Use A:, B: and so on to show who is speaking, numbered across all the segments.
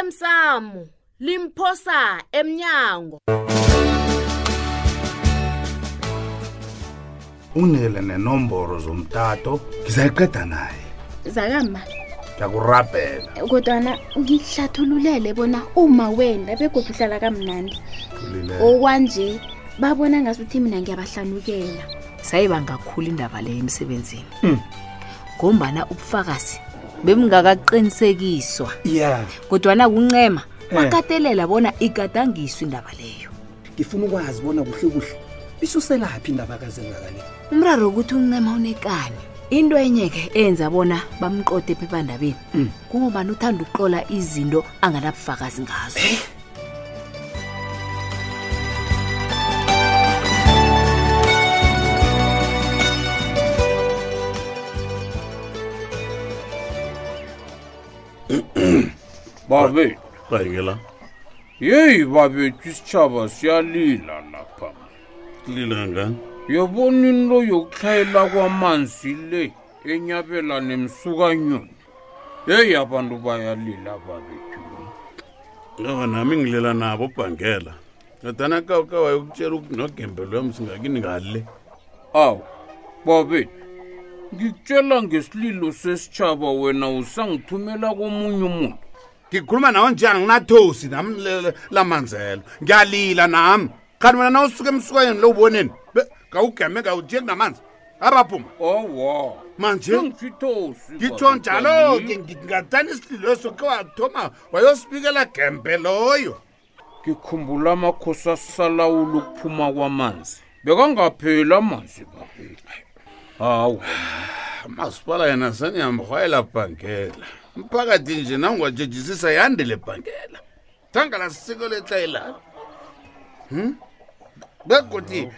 A: osemsamo limphosa emnyango
B: unele nenomboro zomtato ngizayiqeda naye
C: zakama
B: ngiyakurabhela
C: kodwana ngihlathululele bona uma wenda begoda uhlala kamnandi Oh.
B: thulile
C: okwanje babona ngasuthi mina ngiyabahlanukela
D: sayiba ngakhulu indaba leyo emsebenzini ngombana ubufakazi bemngakaqinisekiswa
E: ya
D: kodwana kuncema
E: Eh.
D: wakatelela bona igadangiswe indaba leyo
E: ngifuna ukwazi bona kuhle kuhle isuselaphi indaba kazengakale
D: umraro ukuthi uncema unekani into enye-ke enza bona bamqote ephephandabeni
E: Mm.
D: kungobani uthanda ukuqola izinto anganabufakazi ngazo
F: babe
G: bayekela
F: yeyi babethu isitshaba siyalila lapha
G: lila ngani
F: yobona into yokutlhayela kwamanzi le enyabela nemsukanyoni yeyi abantu bayalila babethu
G: awa nami ngilela nabo ubhangela adana kawukawaye ukutshela nogembelo wami singakini ngale
F: awu babethu ngikutshela ngesililo sesitshaba wena usangithumela komunye umuntu
G: ngikhuluma nawe nje anginathosi nami le- lamanzelo ngiyalila nami kanti wena nawusuka emsukanyeni lo uboneni be- kawugeme kawujiye kunamanzi abaphuma
F: owa
G: manje
F: sengifitosi
G: ngitsho njalo-ke ngingatani isililo eso ke wathoma wayosibikela gembe loyo
F: ngikhumbula amakhosi asalawula ukuphuma kwamanzi bekangapheli amanzi babethu hawu
G: amasipala yena seniyamrhwayela bhangela mphakathi nje nawungajejisisa yandele bhangela thanga lasiko letlayelalo Hmm? begodi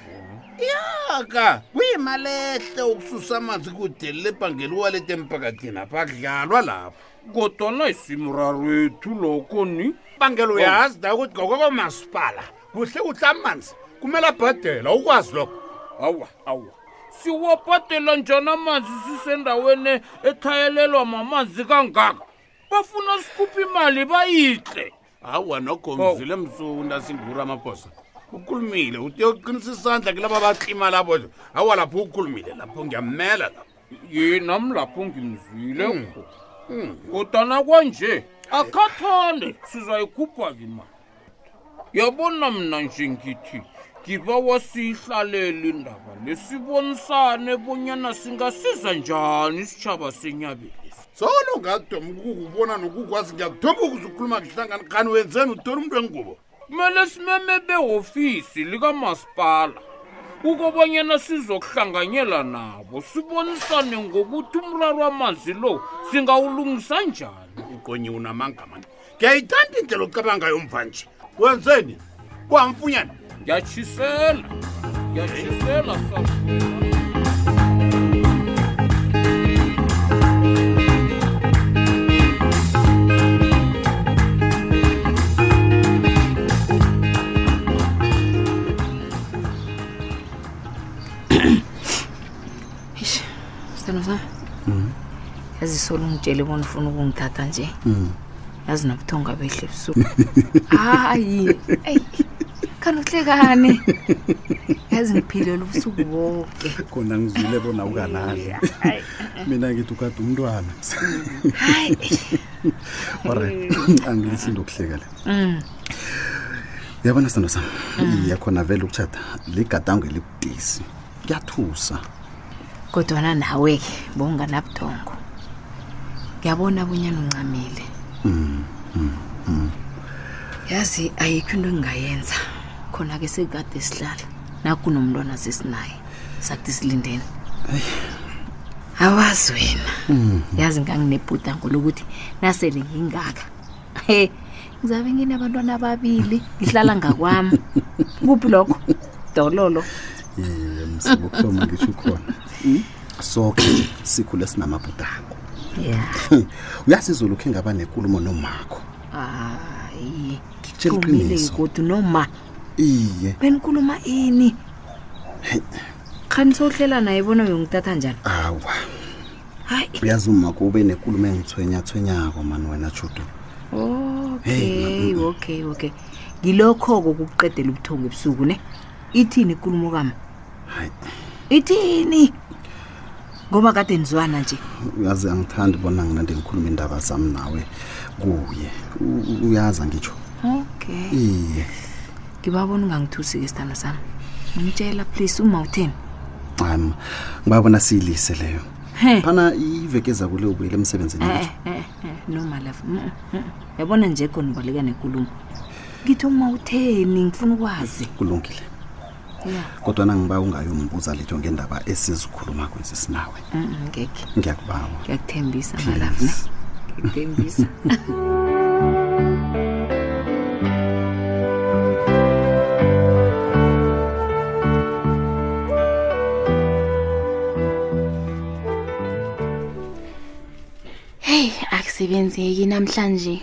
G: yaka kuyimalehle ukususa amanzi kude lebhangela uwalete emphakathini apha kudlalwa lapho
F: kodwana isimraro yethu lokho ni
G: bhangela uyazi da ukuthi ngokokomasipala kuhle kuhle amanzi kumele abhadela ukwazi lokho
F: awa awa siwapatela njani amanzi sisendaweni ethayelelwa mamanzi kangaka bafuna sikhuphe imali bayitle
G: hawa nogomzile msuku ndasingura amaphosa ukhulumile uteyoqinisa isandla kulaba baklima lapho nje hawa lapho ukhulumile lapho ngiyammela lapho
F: ye nami lapho ngimzwile kho kodwana kwanje akhathande sizayikhupha-ke imali yabona mna nje ngithi ngibawa siyihlalele indaba lesibonisane bonyana singasiza njani isitshaba senyabelesi
G: solo ngadoma ukukubona nokukwazi ngiyakuthoba ukuze ukhuluma ngihlangani khani wenzeni utori umntu wengubo
F: kumele simeme behofisi likamasipala ukobanyana sizokuhlanganyela nabo sibonisane ngokuthi umraro wamanzi lo singawulungisa njani
G: uqonyiwe unamanga mani ngiyayithanda indlela ocabangayo mva nje wenzeni kwamfunyana
F: ngiyatshisela ngiyatshisela sa
D: eish sithando sami yazi solo ungitshele bona ufuna ukungithatha nje yazi nabuthonga behle busuku hayi eyi kanti uhlekani yazi ngiphilela ubusuku bonke
E: khona ngizwile bona ukalali mina ngithi ukade umntwana
D: hayi
E: olright angilisindo okuhleka le
D: Mm.
E: yabona sithando sam yakhona vele ukutshata ligadango elibudisi kuyathusa
D: kodwana nawe-ke bowunganabuthongo ngiyabona bunyana uncamile yazi ayikho into engingayenza khona-ke sekukade sihlala nakunomntwana sesinaye sakuthi silindeni awazi wena yazi nganginebhudango lokuthi nasele ngingaka he ngizabe nginabantwana ababili ngihlala ngakwami kuphi lokho dololo
E: Yebo, msuku ukuthoma ngisho khona soke sikhule sinamabhudango
D: ya
E: uyasizulu khe ngaba nenkulumo nomakho
D: hayi
E: Ngikutshela
D: Qumile
E: iqiniso.
D: kodwa noma
E: iye
D: benikhuluma ini khani sowuhlela naye bona uyongithatha njani
E: awa
D: hayi
E: uyazi umakho ube nenkulumo engithwenyathwenyako mani wena judu
D: o okay okay okay ngilokho-ko kukuqedela ubuthongo ebusuku ne ithini ikulumo kama
E: hayi
D: ithini ngoba kade nizwana nje
E: uyazi angithandi bona nginande ngikhuluma iindaba zami nawe kuye U- u- uyazi angitsho
D: okay
E: iye
D: ngibabona ungangithusi-ke sithanda sami ngimtshela please uma utheni
E: ama ngibabona siyilise leyo
D: He.
E: phana iveke ezakule ubuyele emsebenzini angitsho?
D: Eh, eh, no malaf mm. yabona nje khona ubaleka nenkulumo ngithi uma utheni ngifuna ukwazi
E: kulungile
D: ya
E: kodwana ngiba ungayombuza litho ngendaba esizikhuluma kwezi sinawe
D: mm, mm, ngekhe
E: ngiyakubawa
D: ngiyakuthembisa malaf ne ngiyakuthembisa
C: heyi akusebenzeki namhlanje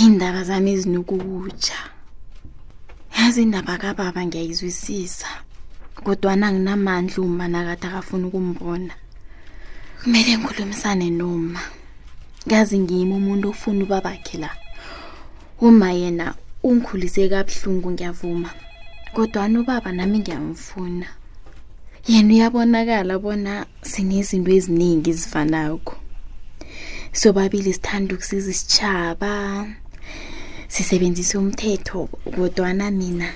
C: iindaba zami ezinokukutsha yazi indaba kababa ngiyayizwisisa kodwana nginamandla uma nakade akafuni ukumbona kumele ngikhulumisane noma ngazi ngimi umuntu ofuna ubabakhe la uma yena ungikhulise kabuhlungu ngiyavuma kodwana ubaba nami ngiyamfuna yena uyabonakala bona sinezinto eziningi ezifanako sobabili sithanda ukusiza isitshaba sisebenzise umthetho kodwana mina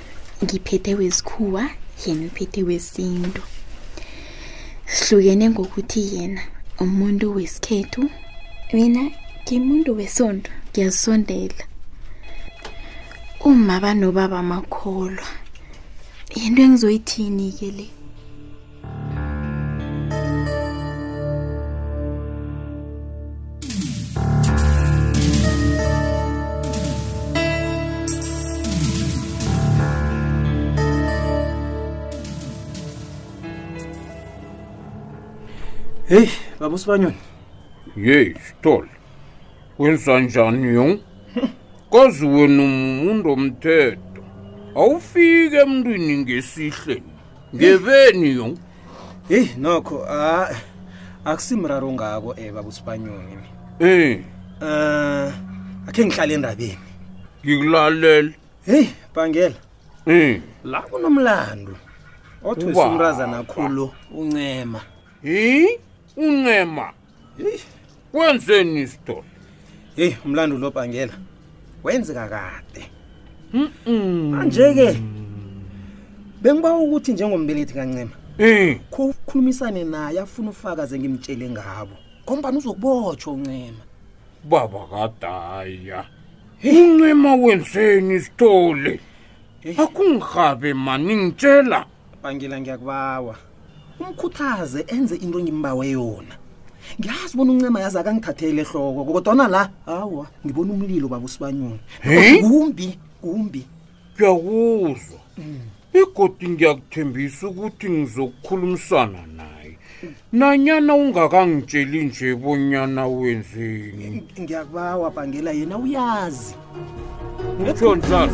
C: ngiphethe wesikhuwa yena uphethe wesintu sihlukene ngokuthi yena umuntu wesikhethu mina ngimuntu wesonto ngiyazisondela uma banobaba makholwa yinto engizoyithini-ke le
H: heyi baba usibanyoni
F: ye sithole wenza njani yo kazi wena umuntu omthetho awufiki emntwini ngesihle ngebeni yo
H: heyi nokho a akusimraro ngako um baba usibanyoni
F: eh
H: um akhe ngihlale endabeni
F: ngikulalela
H: heyi bangela
F: eh
H: la kunomlando othwesa
F: Ubaba.
H: umrazana khulu uncema
F: hi uncema
H: heyi
F: wenzeni sithole
H: heyi umlando lo bangela wenzeka kade manje-ke bengiba ukuthi njengombelethi kancema
F: eh
H: kukhulumisane naye afuna ufakaze ngimtshele ngabo ngombani uzokubotshwa uncema
F: baba kadaya uncema wenzeni sithole akungihabe mani ngitshela
H: bangela ngiyakubawa umkhuthaze enze into engimbawe yona ngiyazi bona uncema yazi akangithathele ehloko kodwana la awa ngibona umlilo baba usibanyoni
F: He?
H: kumbi kumbi
F: ngiyakuzwa begodi ngiyakuthembisa ukuthi ngizokukhulumisana naye nanyana ungakangitsheli nje bonyana wenzeni
H: ngiyakubawa bangela yena uyazi
F: utsho njalo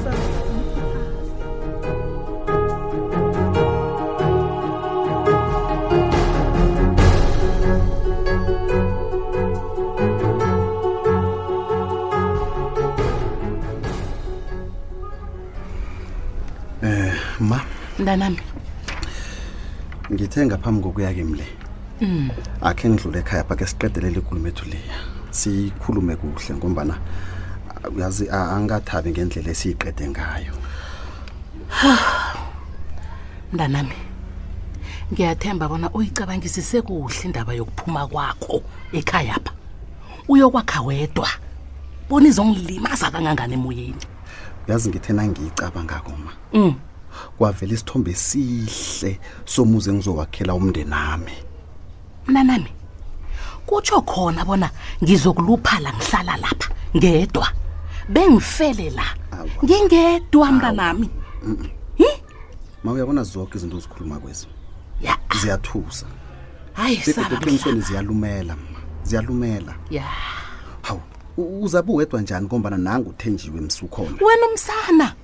E: ma
I: mntanami
E: ngithe ngaphambi kokuya ke mle
I: Hmm.
E: akhe ngidlule ekhaya phake siqedelele ikulumo ethu leya siyikhulume kuhle ngombana ah, uyazi ah, angathabi ngendlela esiyiqede ngayo
I: mntanami ngiyathemba bona uyicabangisise kuhle indaba yokuphuma kwakho ekhaya pha uyokwakha wedwa bona izongilimaza kangangani emoyeni
E: uyazi ngithe nangiyicabangako ma
I: Mm.
E: kwavela isithombe esihle somuzi engizowakhela umndeni ami
I: mnanami kutsho khona bona ngizokuluphala ngihlala lapha ngedwa bengifele la
E: Awa.
I: ngingedwa mntanami
E: ma uyabona zonke izinto ozikhuluma kwezo
I: ya
E: ziyathusa
I: hayi
E: begoda eqinisweni
I: saba
E: ziyalumela ma ziyalumela
I: ya
E: hawu u- uzabe uwedwa njani ngombana nangu uthenjiwe msukhona
I: wena umsana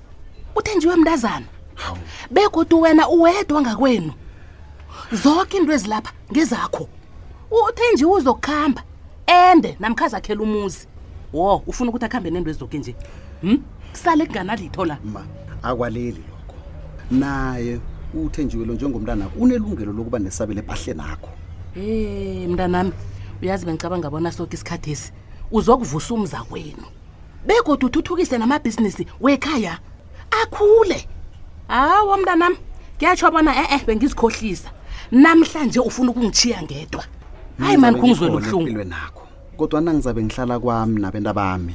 I: uthenjiwe mntazana
E: hawu
I: begodwa wena uwedwa ngakwenu zonke into ezilapha ngezakho uthenjiwe uzokuhamba ende namkhazakhela umuzi wo ufuna ukuthi akuhambe nento ezidoke nje hm kusale kunganalitho la
E: ma akwaleli lokho naye uthenjiwelo njengomntana wakho unelungelo lokuba nesabele phahle nakho
I: e mntanami uyazi bengicabanga bona soke isikhathi esi uzokuvusa umza kwenu begodwa uthuthukise namabhizinisi wekhaya akhule hawa mntanami kuyatsho bona e-e bengizikhohlisa namhlanje ufuna ukungishiya ngedwa hayi mani kungizwela ubuhlungu
E: uhlungilwe nakho kodwa nangizabe ngihlala kwami nabantu bami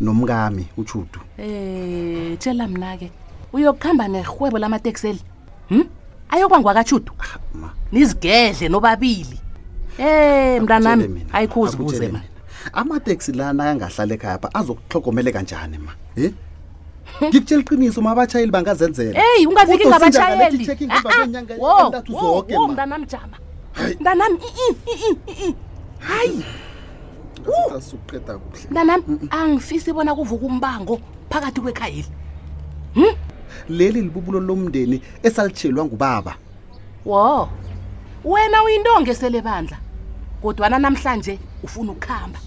E: nomkami ujudu
I: Eh, tshela mina ke. Uyokuhamba nerhwebo lamatekseli. Hm? Ayokubangwa kaChudu.
E: Ah, ma
I: Nizigedle nobabili. Eh, mntanami,
E: Tshele mina,
I: ayikhuzi
E: akutshele
I: buze ma.
E: mina. amateksi lana angahlala ekhaya pha azokuhlokomele kanjani ma e ngikutshela iqiniso ma abatshayeli bangazenzela
I: Hey, ungafiki
E: Udosinja
I: ngabatshayeli. Ah,
E: ngalethi checking ngemva kweenyanga ezintathu zonke, ma.
I: mntanami jama. Mntanami, i i i i. Hayi,
E: asuqeda kuhle
I: mntanami, angifisi bona kuvuka umbango phakathi kwekhayeli.
E: leli libubulo lomndeni esalitshelwa ngubaba
I: Wo. Wena uyintonge selebandla. Kodwana namhlanje ufuna ukukhamba.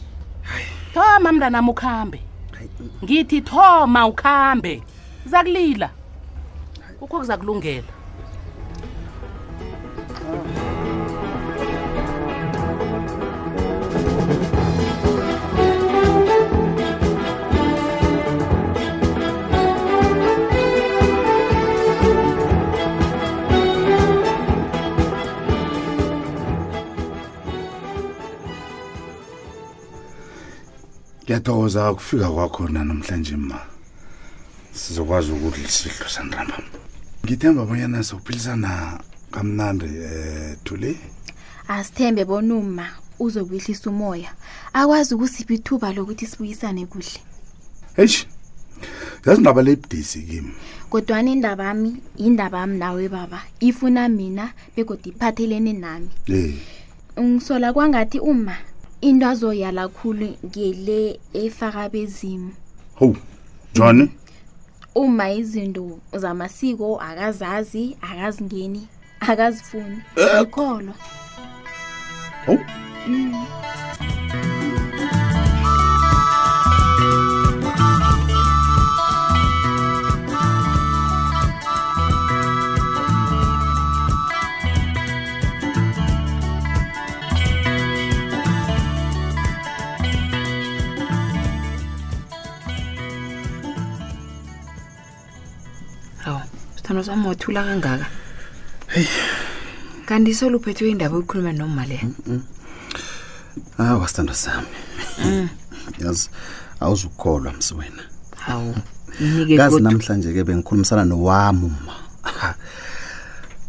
I: Thoma mntanami ukhambe. Ngithi thoma ukhambe. Zakulila. Kukho kuzakulungela.
B: ngiyathokoza ukufika kwakhona namhlanje ma sizokwazi ukudla isidlo sandrambam ngithemba abonyana sophilisana kamnandi um thule
C: asithembe bona uma uzokwehlisa umoya akwazi ukusipha ithuba lokuthi sibuyisane kuhle
B: eish zazindaba lebudisi kimi
C: kodwana indaba yami yindaba yami nawe baba ifuna mina begodwa iphathelene nami
B: e
C: ngisola kwangathi uma into azoyala khulu ngele efaka bezimu
B: ho john
C: uma izinto zamasiko akazazi akazingeni akazifuni ikholwa
B: ho
D: hawu sithando sami wathula kangaka kanti solo uphethwe indaba yokukhuluma noma leya
E: awa sithando sami yazi awuzukukholwa msi wena
D: hawu mnike
E: kazi
D: kodwa
E: namhlanje ke bengikhulumisana nowami uma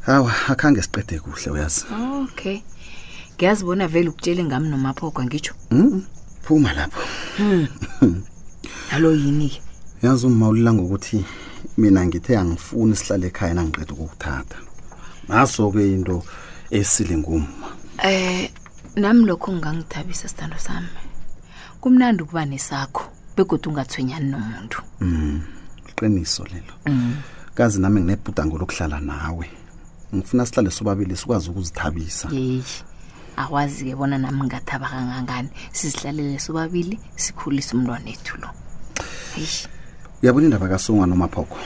E: hawa akhange siqede kuhle uyazi
D: okay ngiyazibona vele ukutshele ngami nomaphogwa ngitsho
E: Mm, phuma lapho
D: alo yini-ke
E: yazi uma ulila ngokuthi mina ngithe angifuni sihlale ekhaya nangiqeda ukukuthatha naso-ke into esile nguma
D: Eh nami lokho ngangithabisa sithando sami. Kumnandi ukuba nesakho begodwa ungathwenyani nomuntu.
E: iqiniso lelo kazi nami nginebhudango lokuhlala nawe ngifuna sihlale sobabili sikwazi ukuzithabisa
D: Hey. Akwazi ke bona nami ngathaba kangangani. Sizihlalele sobabili sikhulisa umntwana wethu lo. Eish.
E: uyabona indaba kasunga nomaphoko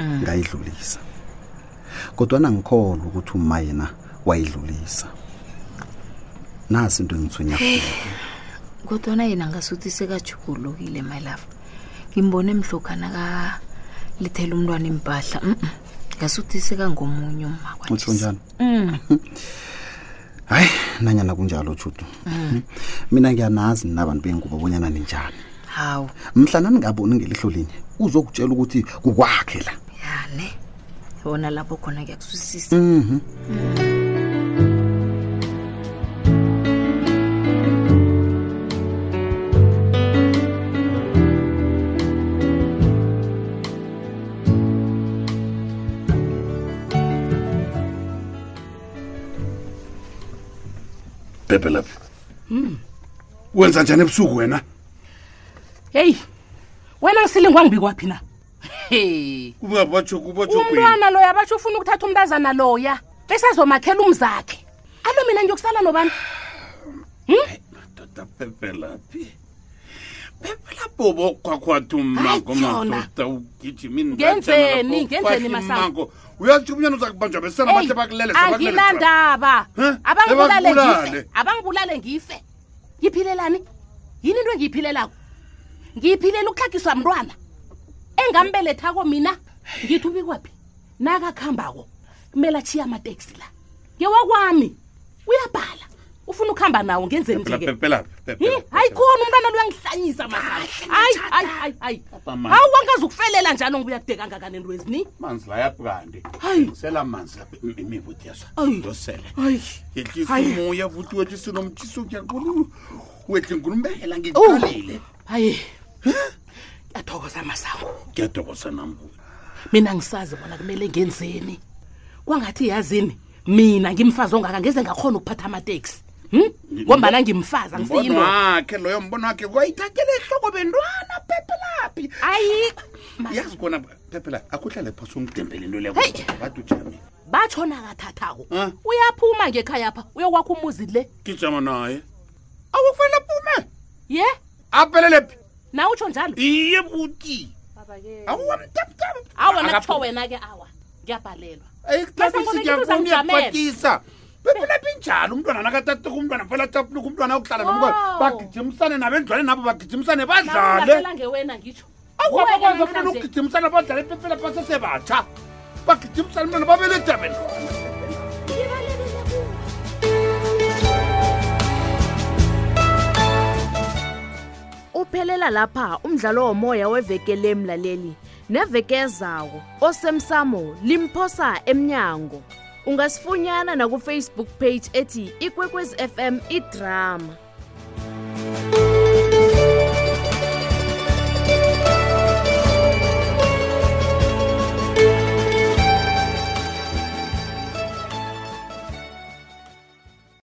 E: ngayidlulisa kodwana ngikholwa ukuthi uma yena wayidlulisa nasi into engithunya
D: Kodwa na yena ngasuthi sekajugulukile my love. Ngimbone emhlokana ka lithela umntwana impahla. Mhm. Ngasuthi sekangomunye umakwa.
E: utsho njani hayi nanyana kunjalo judu mina ngiyanazi ninabantu bengubo bonyana ninjani
D: Hawu.
E: mhlana ningaboni ngelihlo linye uzokutshela ukuthi kukwakhe la
D: Yane. Yabona lapho khona ngiyakuzwisisa.
B: bhebhe lapho
G: Hmm.
B: wenza njani ebusuku wena
I: Hey. Wena ngisilingwa ngibikwaphi na? Hey.
G: kubabatsho kubatsho
I: Umntwana loya basho ufuna ukuthatha umntazana loya. Bese azomakhela umzakhe. Alo mina ngiyokusala nobani?
G: kwini
E: lapho bokhwakhwatha ummango
I: Hayi, Jona.
E: madoda ugijima
I: Ngenzeni, ngenzeni masango?
E: uyatsho ubunyana uza kubanjwa besana bahle bakulele sebakulele
I: anginandaba
E: Huh?
I: abangibulale
E: Sebakubulale.
I: ngife abangibulale ngife ngiphilelani yini into engiyiphilelako ngiyiphilela ukuhlagiswa mntwana engambelethako mina ngithi ubikwaphi nakakuhambako kumele achiye amateksi la ngewakwami uyabhala ufuna ukuhamba nawo ngenzeni nje ke Hmm, hayi khona umntwana lo uyangihlanyisa masango hayi hayi hayi hayi
E: Papa,
I: hawu wangazi ukufelela njalo ngoba uyakudeka ngakani into ezini
E: manzi la yapukande
I: Hayi.
E: sela manzi lapha imibuti yaswa
I: Ayi.
E: ndosele
I: hayi
E: yehlisa
I: Hayi.
E: umoya buti wetshisa nomtshisa uyakhulu wedlingulumbela ngikuqalile
I: hayi yathokoza masango
E: ngiyadokoza nambuti
I: mina ngisazi bona kumele ngenzeni kwangathi yazini mina ngimfazi ongaka ngeze ngakhona ukuphatha amateksi hm ngombana ngimfazi
E: mbono
I: angisiyinto
E: wakhe loyo mbono wakhe kwayithathela ehloko bentwana phephelaphi
I: ayi
E: yazi kona phephela akuhlale phasi ungidembele into
I: Hey.
E: lebathi ujame
I: batshona kathathako
E: Ah.
I: uyaphuma ngekhaya pha uyokwakha umuzi le
E: ngijama naye awukufanele aphume
I: ye
E: aphelele phi
I: na utsho njalo
E: iye buti awuwamtaptap
I: awa nakutsho wena-ke awa ngiyabhalelwa
E: ayikutabisi
I: Masango, ngikuza
E: ngiyakubona
I: ngijamele.
E: uyabhatisa phephelaphi njalo umntwana nakatatuka umntwana phela tapuluka umntwana ayokuhlala nomkwe
I: Wow.
E: bagijimisane nabendlwane nabo bagijimisane badlale
I: nabela ngewena ngitsho Nguwe-ke
E: awabakwazi
I: namhlanje.
E: funa ukugijimisana badlale phefela basesebatsha bagijimisane mntwana babeletabeni
J: uphelela lapha umdlalo womoya wevekele mlaleli nevekezako osemsamo limphosa emnyango ungasifunyana nakufacebook page ethi ikwekwezi fm idrama